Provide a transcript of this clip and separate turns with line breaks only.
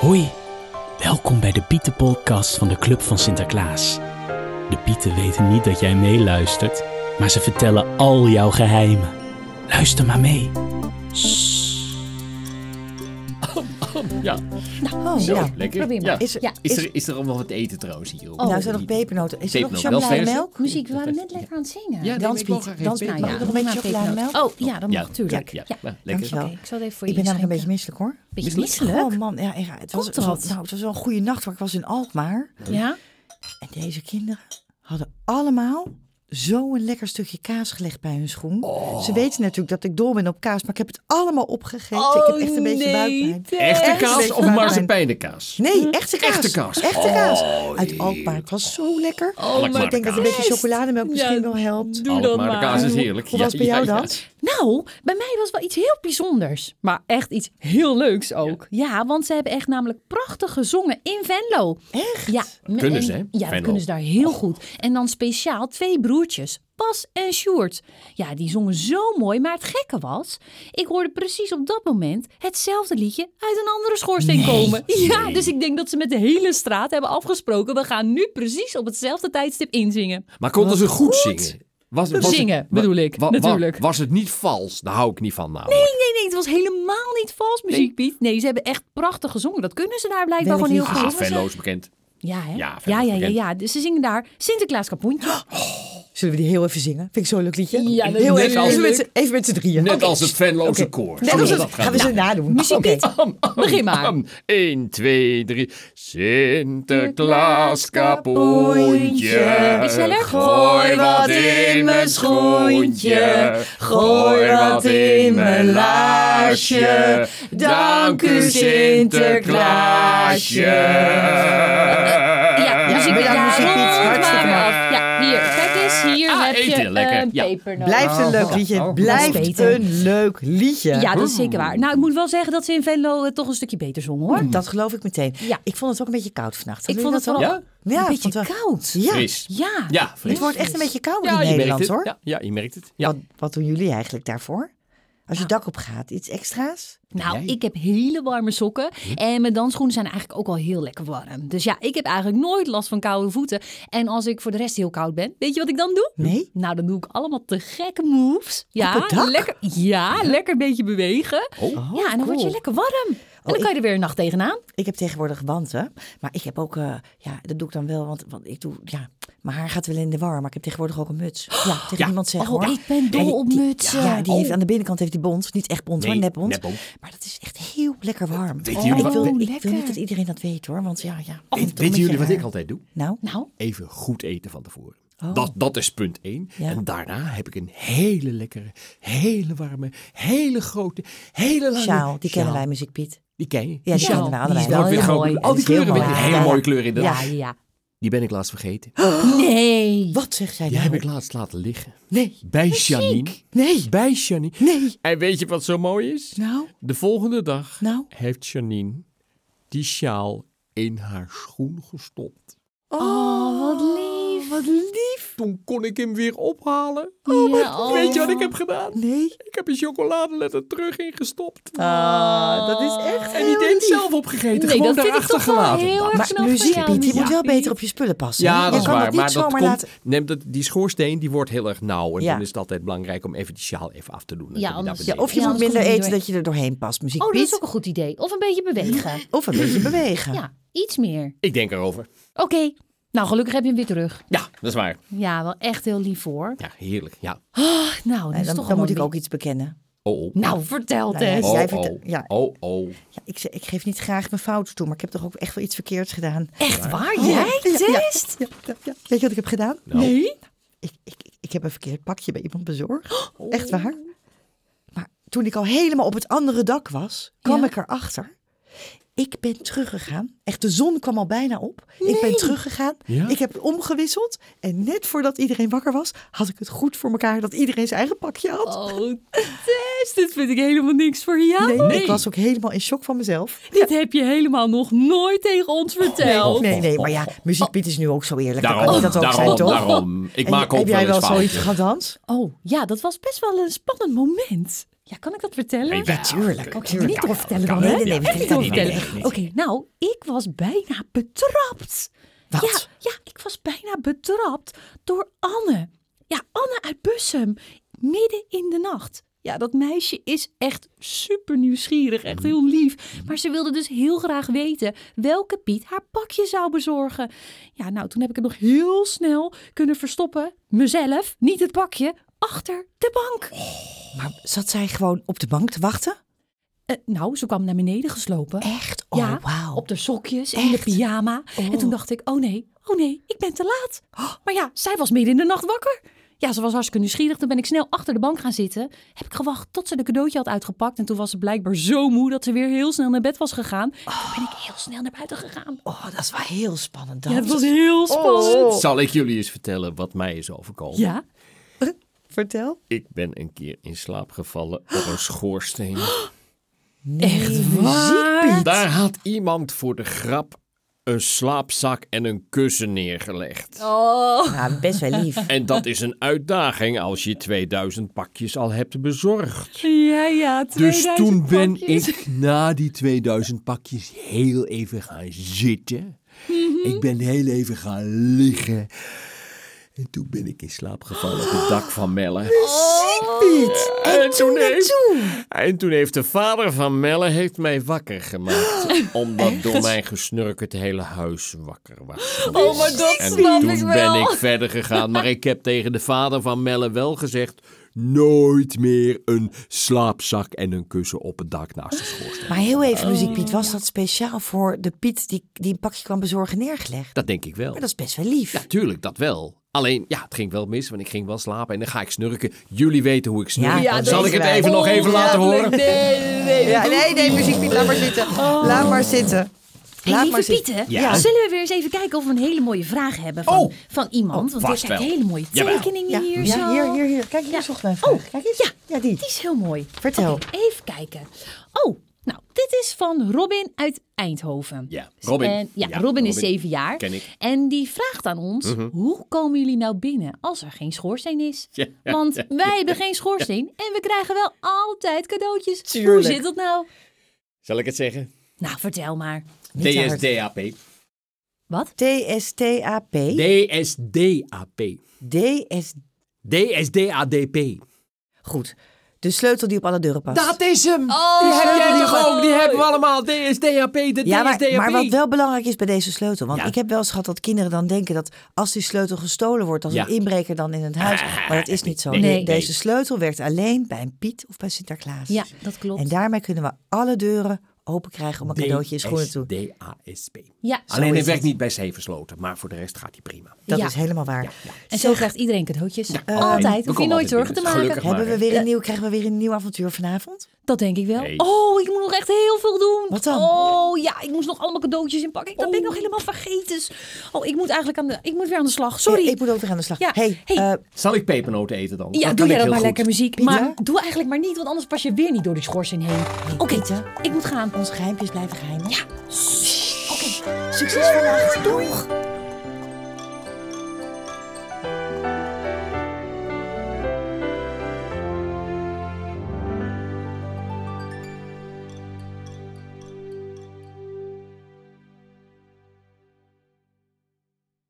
Hoi, welkom bij de Pietenpodcast van de Club van Sinterklaas. De Pieten weten niet dat jij meeluistert, maar ze vertellen al jouw geheimen. Luister maar mee.
Ja,
Oh,
zo,
ja.
lekker.
Probeer maar.
Ja.
Is er-
Ja.
is-
Is, er, is er ook nog wat eten trouwens hier?
nou, er zijn nog pepernoten. Is er nog
Pepernoten, wel
chocolademelk?
vers.
Muziek.
Muziek, we waren net lekker aan het zingen.
Ja,
Danspiet,
nee, maar ik wil graag even
danspiet.
peper.
Nou
Ja,
Nog een
doe
beetje
maar pepernoot.
chocolademelk?
Oh, ja, dat
Ja,
mag, tuurlijk.
ja,
Ja,
ja, lekker.
Dankjewel.
Oké, ik zal het even voor
Ik
je
ben namelijk een
inschenken.
beetje misselijk hoor.
Beetje
Oh
misselijk?
man, ja, ja, het, was,
Komt
het, was,
dat?
nou, het was wel een goede nacht, maar ik was in Alkmaar.
Ja?
En deze kinderen hadden allemaal zo'n lekker stukje kaas gelegd bij hun schoen.
Oh.
Ze weten natuurlijk dat ik dol ben op kaas, maar ik heb het allemaal opgegeten. ik
Oh,
heb echt een beetje buikpijn.
Echte kaas
Echt?
of marzipijnenkaas?
Hm?
Nee, echte kaas.
Echte kaas.
Echte kaas.
Oh,
Uit Alkmaar. Het was zo lekker.
Alkmaar
ik denk dat een
kaas.
beetje chocolademelk misschien wel helpt.
Doe
Alkmaar
dan
de
maar.
kaas is heerlijk.
Hoe was bij jou
ja,
dat?
Nou, bij mij was wel iets heel bijzonders. Maar echt iets heel leuks ook. Ja, want ze hebben echt namelijk prachtig gezongen in Venlo.
Echt?
Ja, me-
kunnen ze, hè,
en- Ja,
Venlo.
dat kunnen ze daar heel goed. En dan speciaal twee broertjes, Bas en Sjoerd. Ja, die zongen zo mooi. Maar het gekke was, ik hoorde precies op dat moment hetzelfde liedje uit een andere schoorsteen komen. Ja, dus ik denk dat ze met de hele straat hebben afgesproken. We gaan nu precies op hetzelfde tijdstip inzingen.
ja. Maar konden ze goed zingen? Was,
Zingen,
wa-
bedoel ik,
wa- wa-
natuurlijk.
Was het niet vals? Daar hou ik niet van namelijk.
Nee, nee, het was helemaal niet vals muziek, Piet. Nee, ze hebben echt prachtig gezongen. Dat kunnen ze daar blijkbaar
Welk
gewoon heel
liedje?
goed.
Ah, Venlo is bekend.
Ja, hè?
Ja, Oh,
Ja,
Venlo
ja,
is
ja, ja,
bekend.
Dus ze zingen daar Sinterklaas Kapoentje.
Zullen we die heel even zingen? Vind ik zo'n leuk liedje.
Ja,
heel
natuurlijk.
even, even, met z'n- even met z'n drieën.
Net
Oké.
als het Venloze
Oké.
koor.
Net
Zullen we
als het-
dat gaan
gaan we ze
doen?
nadoen.
Muziek
Oké.
niet. Begin maar.
1, 2, 3. Sinterklaas kapoentje.
Is sneller?
Gooi wat in mijn schoentje. Gooi wat in mijn laarsje. Dank u Sinterklaasje.
Ja,
Ja,
dus ik ben
ben daar
daar
muziek
rond
iets hartstikke
maar
mooi.
af. eh, Ja, hier, kijk eens. Hier
Ah,
heb
eten,
je
lekker.
een
Ja.
pepernoot.
Blijft een leuk liedje. Het blijft
beter.
een leuk liedje. Hmm.
Ja, dat is zeker waar. Nou, ik moet wel zeggen dat ze in Venlo eh, toch een stukje beter zongen, hoor.
Dat geloof ik meteen.
Ja.
Ik vond het ook een beetje koud vannacht.
Ik vond
Hadden
het wel
jullie dat
Ja?
wel? Ja,
een
ik vond
beetje
het wel-
koud.
Ja.
Fris.
Ja.
Ja, fris.
Het wordt echt een beetje koud
Ja,
in
je merkt
Nederland
het.
hoor.
Ja, ja, je merkt het. Ja.
Wat, wat doen jullie eigenlijk daarvoor? Als je dak op gaat, iets extra's?
Nou,
Jij?
ik heb hele warme sokken. En mijn dansschoenen zijn eigenlijk ook al heel lekker warm. Dus ja, ik heb eigenlijk nooit last van koude voeten. En als ik voor de rest heel koud ben, weet je wat ik dan doe?
Nee?
Nou, dan doe ik allemaal te gekke moves. Ja,
het dak?
lekker. Ja, lekker een beetje bewegen.
Oh.
ja, en dan word je
cool.
lekker warm. En dan
ik-
kan je er weer een nacht tegenaan.
Ik heb tegenwoordig wanten, maar ik heb ook, eh, ja, dat doe ik dan wel, want, want ik doe, ja, mijn haar gaat wel in de war, maar ik heb tegenwoordig ook een muts. Ja, tegen niemand zeggen
Oh,
hoor.
ik ben dol
En die-
op
die-
mutsen.
Ja, die
Oh.
heeft aan de binnenkant heeft die bont, niet echt bont,
Nee,
maar nepbont.
nepbont.
Maar dat is echt heel lekker warm.
Weten jullie
ik,
wat-
wil, ik
lekker.
wil niet dat iedereen dat weet hoor, want ja, ja.
Weet-
want met
Weten
je
jullie wat
haar-
ik altijd doe?
Nou,
Nou,
even goed eten van tevoren. Dat, dat is punt 1.
Oh. Ja.
En daarna heb ik een hele lekkere, hele warme, hele grote, hele lange...
sjaal, die kennen
sjaal.
wij muziek Piet.
Die ken je?
Ja, die
sjaal,
kennen we
die
allebei.
is wel
Rood-wit,
heel
groen,
mooi.
blauw. Al die
Die is heel
kleuren, weet je.
mooi.
Hele
Ja,
mooie
ja.
kleuren inderdaad.
ja, ja.
Die ben ik laatst vergeten.
Nee.
Wat zegt zij
Die
nou?
heb ik laatst laten liggen.
Nee,
Bij Janine.
nee,
Bij Janine.
nee.
En weet je wat zo mooi is?
Nou,
De volgende dag
Nou?
heeft Janine die sjaal in haar schoen gestopt.
Oh, wat lief.
wat lief.
Toen kon ik hem weer ophalen.
Oh, ja,
Weet je wat
oh.
ik heb gedaan?
Nee.
Ik heb een chocoladeletter terug ingestopt.
Ah, dat is echt
En die
heel
deed
lief.
zelf opgegeten.
Nee,
gewoon
dat vind ik
daarachter
toch wel
gelaten.
heel erg
Maar
knap van
muziek,
jou.
Piet, die moet wel
Piet.
beter op je spullen passen. hè?
Ja, dat
je
is
kan
waar.
dat niet
maar dat
zomaar
komt,
laten...
neem dat, die schoorsteen die wordt heel erg nauw. En
Ja.
dan is het altijd belangrijk om even die sjaal even af te doen. Dan
Ja,
kom je daar
anders-
Ja,
beneden.
of je
Ja,
moet
dat
minder
komt niet
eten
door.
dat je er doorheen past, muziek
Oh, dat
Piet.
is ook een goed idee. Of een beetje bewegen.
Of een beetje bewegen.
Ja, iets meer.
Ik denk erover.
Oké. Nou, gelukkig heb je hem weer terug.
Ja, dat is waar.
Ja, wel echt heel lief hoor.
Ja, heerlijk. Ja.
Nou, dat
En
is toch
dan dan
gewoon
moet ik
lief.
ook iets bekennen.
Oh, oh.
Nou, vertel
Nou ja,
Tess.
als jij
Oh,
vertel-
oh.
ja.
Oh, oh.
Ja, ik, zeg- ik geef niet graag mijn fouten toe, maar ik heb toch ook echt wel iets verkeerds gedaan.
Echt waar? Jij,
Ja, ja, Nou.
Tess?
ja, ja, ja. Weet je wat ik heb gedaan?
Nee?
Ik, ik, ik- ik heb een verkeerd pakje bij iemand bezorgd.
Oh.
Echt waar. Maar toen ik al helemaal op het andere dak was, kwam
Ja.
ik erachter. Ik ben teruggegaan. Echt, de zon kwam al bijna op. Ik ben teruggegaan.
Ja?
Ik heb omgewisseld. En net voordat iedereen wakker was, had ik het goed voor elkaar dat iedereen zijn eigen pakje had.
Oh, Tess, dit vind ik helemaal niks voor jou.
Nee, ik was ook helemaal in shock van mezelf.
Dit heb je helemaal nog nooit tegen ons verteld.
Oh, Nee, nee, maar ja,
Oh.
muziekpiet is nu ook zo eerlijk. Dan kan
Oh. Daarom,
ik dat ook
daarom,
zijn, toch?
daarom. Ik
En
maak ook
heb
wel
jij wel
eens
zoiets
fouten.
gehad, Hans?
Oh, ja, dat was best wel een spannend moment. Ja, kan ik dat vertellen?
Nee, wel.
Tuurlijk.
Oké, niet
kan wel,
doorvertellen
kan
dan,
wel. Nee,
hè?
nee, nee,
Niet
nee,
doorvertellen.
nee, nee, nee.
Oké, nou, ik was bijna betrapt.
Wat?
Ja, ja, ik was bijna betrapt door Anne. Ja, Anne uit Bussum. Midden in de nacht. Ja, dat meisje is echt super nieuwsgierig, echt heel lief. Maar ze wilde dus heel graag weten welke Piet haar pakje zou bezorgen. Ja, nou, toen heb ik het nog heel snel kunnen verstoppen. Mezelf, niet het pakje, achter de bank.
Maar zat zij gewoon op de bank te wachten?
Eh, nou, ze kwam naar beneden geslopen.
Echt? Oh,
Ja,
wauw.
op de sokjes, in de
Echt?
pyjama. En toen dacht ik, oh nee, oh nee, ik ben te laat. Oh, Maar ja, zij was midden in de nacht wakker. Ja, ze was hartstikke nieuwsgierig. Toen ben ik snel achter de bank gaan zitten. Heb ik gewacht tot ze de cadeautje had uitgepakt. En toen was ze blijkbaar zo moe dat ze weer heel snel naar bed was gegaan.
Oh.
Toen ben ik heel snel naar buiten gegaan.
Oh, dat is wel heel spannend Oh. dan.
Ja, het was
Oh.
heel spannend.
Zal ik jullie eens vertellen wat mij is overkomen?
Oh. Ja,
Vertel.
Ik ben een keer in slaap gevallen op een schoorsteen.
echt waar.
Daar had iemand voor de grap een slaapzak en een kussen neergelegd.
Oh.
Ja, Nou, best wel lief.
En dat is een uitdaging als je 2000 pakjes al hebt bezorgd.
Ja, ja,
Dus
2000
toen ben
pakjes.
ik na die 2000 pakjes heel even gaan zitten. Ik ben heel even gaan liggen. En toen ben ik in slaap gevallen op het dak van Melle. Oh. En, toen heeft, en toen heeft de vader van Melle heeft mij wakker gemaakt. Omdat door mijn gesnurk het hele huis wakker was.
Oh, maar dat
en
snap
toen
ik wel.
ben ik verder gegaan. Maar ik heb tegen de vader van Melle wel gezegd... Nooit meer een slaapzak en een kussen op het dak naast de schoorsteen.
Maar heel even, Muziek Piet, was dat speciaal voor de Piet die, die een pakje kwam bezorgen neergelegd?
Dat denk ik wel.
Maar dat is best wel lief.
Ja, tuurlijk, dat wel. Alleen, ja, het ging wel mis, want ik ging wel slapen en dan ga ik snurken. Jullie weten hoe ik snurk.
Ja, dat
Zal ik
weten
het
wij.
even nog even laten horen?
Ja, oh. nee, nee, Muziek Piet, laat maar zitten. Laat maar zitten.
Hey,
Laat maar
lieve
zitten.
Pieten,
Ja.
zullen we weer eens even kijken of we een hele mooie vraag hebben van,
Oh.
van iemand? Want
vast
er zijn
wel.
hele mooie
Jawel.
tekeningen
Ja,
hier
ja,
zo.
hier, hier, hier. Kijk, hier
Ja.
zocht mijn vraag.
Oh,
Kijk eens.
Ja,
Ja, die.
die is heel mooi.
Vertel.
Oké, even kijken. Oh, nou, dit is van Robin uit Eindhoven.
Ja, Robin.
En, ja,
Ja,
Robin is
Robin.
zeven jaar.
Ken ik. Mhm.
En die vraagt aan ons, hoe komen jullie nou binnen als er geen schoorsteen is?
Ja.
Want wij hebben geen schoorsteen en we krijgen wel altijd cadeautjes.
Tuurlijk.
Hoe zit dat nou?
Zal ik het zeggen?
Nou, vertel maar.
Niet te hard.
DSDAP.
Wat?
TSTAP.
DSDAP.
DS.
DSDADP.
Goed. De sleutel die op alle deuren past.
Dat is hem!
Oh,
die heb jij
ja.
toch ook? Die hebben we allemaal. DSDAP, de
Ja, maar,
DSDAP.
maar wat wel belangrijk is bij deze sleutel. Want
Ja.
ik heb wel eens gehad dat kinderen dan denken dat als die sleutel gestolen wordt, als
Ja. Ah,
een inbreker dan in het huis. Maar dat is niet zo.
Nee,
De-
nee.
Deze sleutel werkt alleen bij een Piet of bij Sinterklaas.
Ja, dat klopt.
En daarmee kunnen we alle deuren open krijgen om een cadeautje in schoenen toe.
DSDASP.
Ja, zo
Alleen
is
hij werkt
het.
niet bij Zevensloten, maar voor de rest gaat hij prima.
Dat
Ja.
is helemaal waar.
En zo krijgt iedereen cadeautjes.
Nou,
Eh,
altijd.
altijd.
We
Hoef je
komen
nooit
altijd
zorgen te
binnen.
maken.
Gelukkig.
Hebben we
maar.
weer een nieuw, krijgen we weer een nieuw avontuur vanavond?
Dat denk ik wel.
Nee.
Oh, ik moet nog echt heel veel doen.
Wat dan?
Oh ja, ik moest nog allemaal cadeautjes inpakken. Ik- Dat ben ik nog helemaal vergeten. Oh, ik moet eigenlijk aan de, ik moet weer aan de slag. Sorry.
Ja, ik moet ook weer aan de slag.
Ja.
Hey,
Hey.
eh,
Zal ik pepernoten eten dan?
ja,
kan
doe
ik
jij dat
heel
maar
goed.
lekker muziek.
Pieter?
Maar doe eigenlijk maar niet, want anders pas je weer niet door die schorsing heen. Oké,
Pieter?
ik moet gaan.
onze geheimpjes blijven geheim. hè?
Ja.
Succes vandaag. Doeg!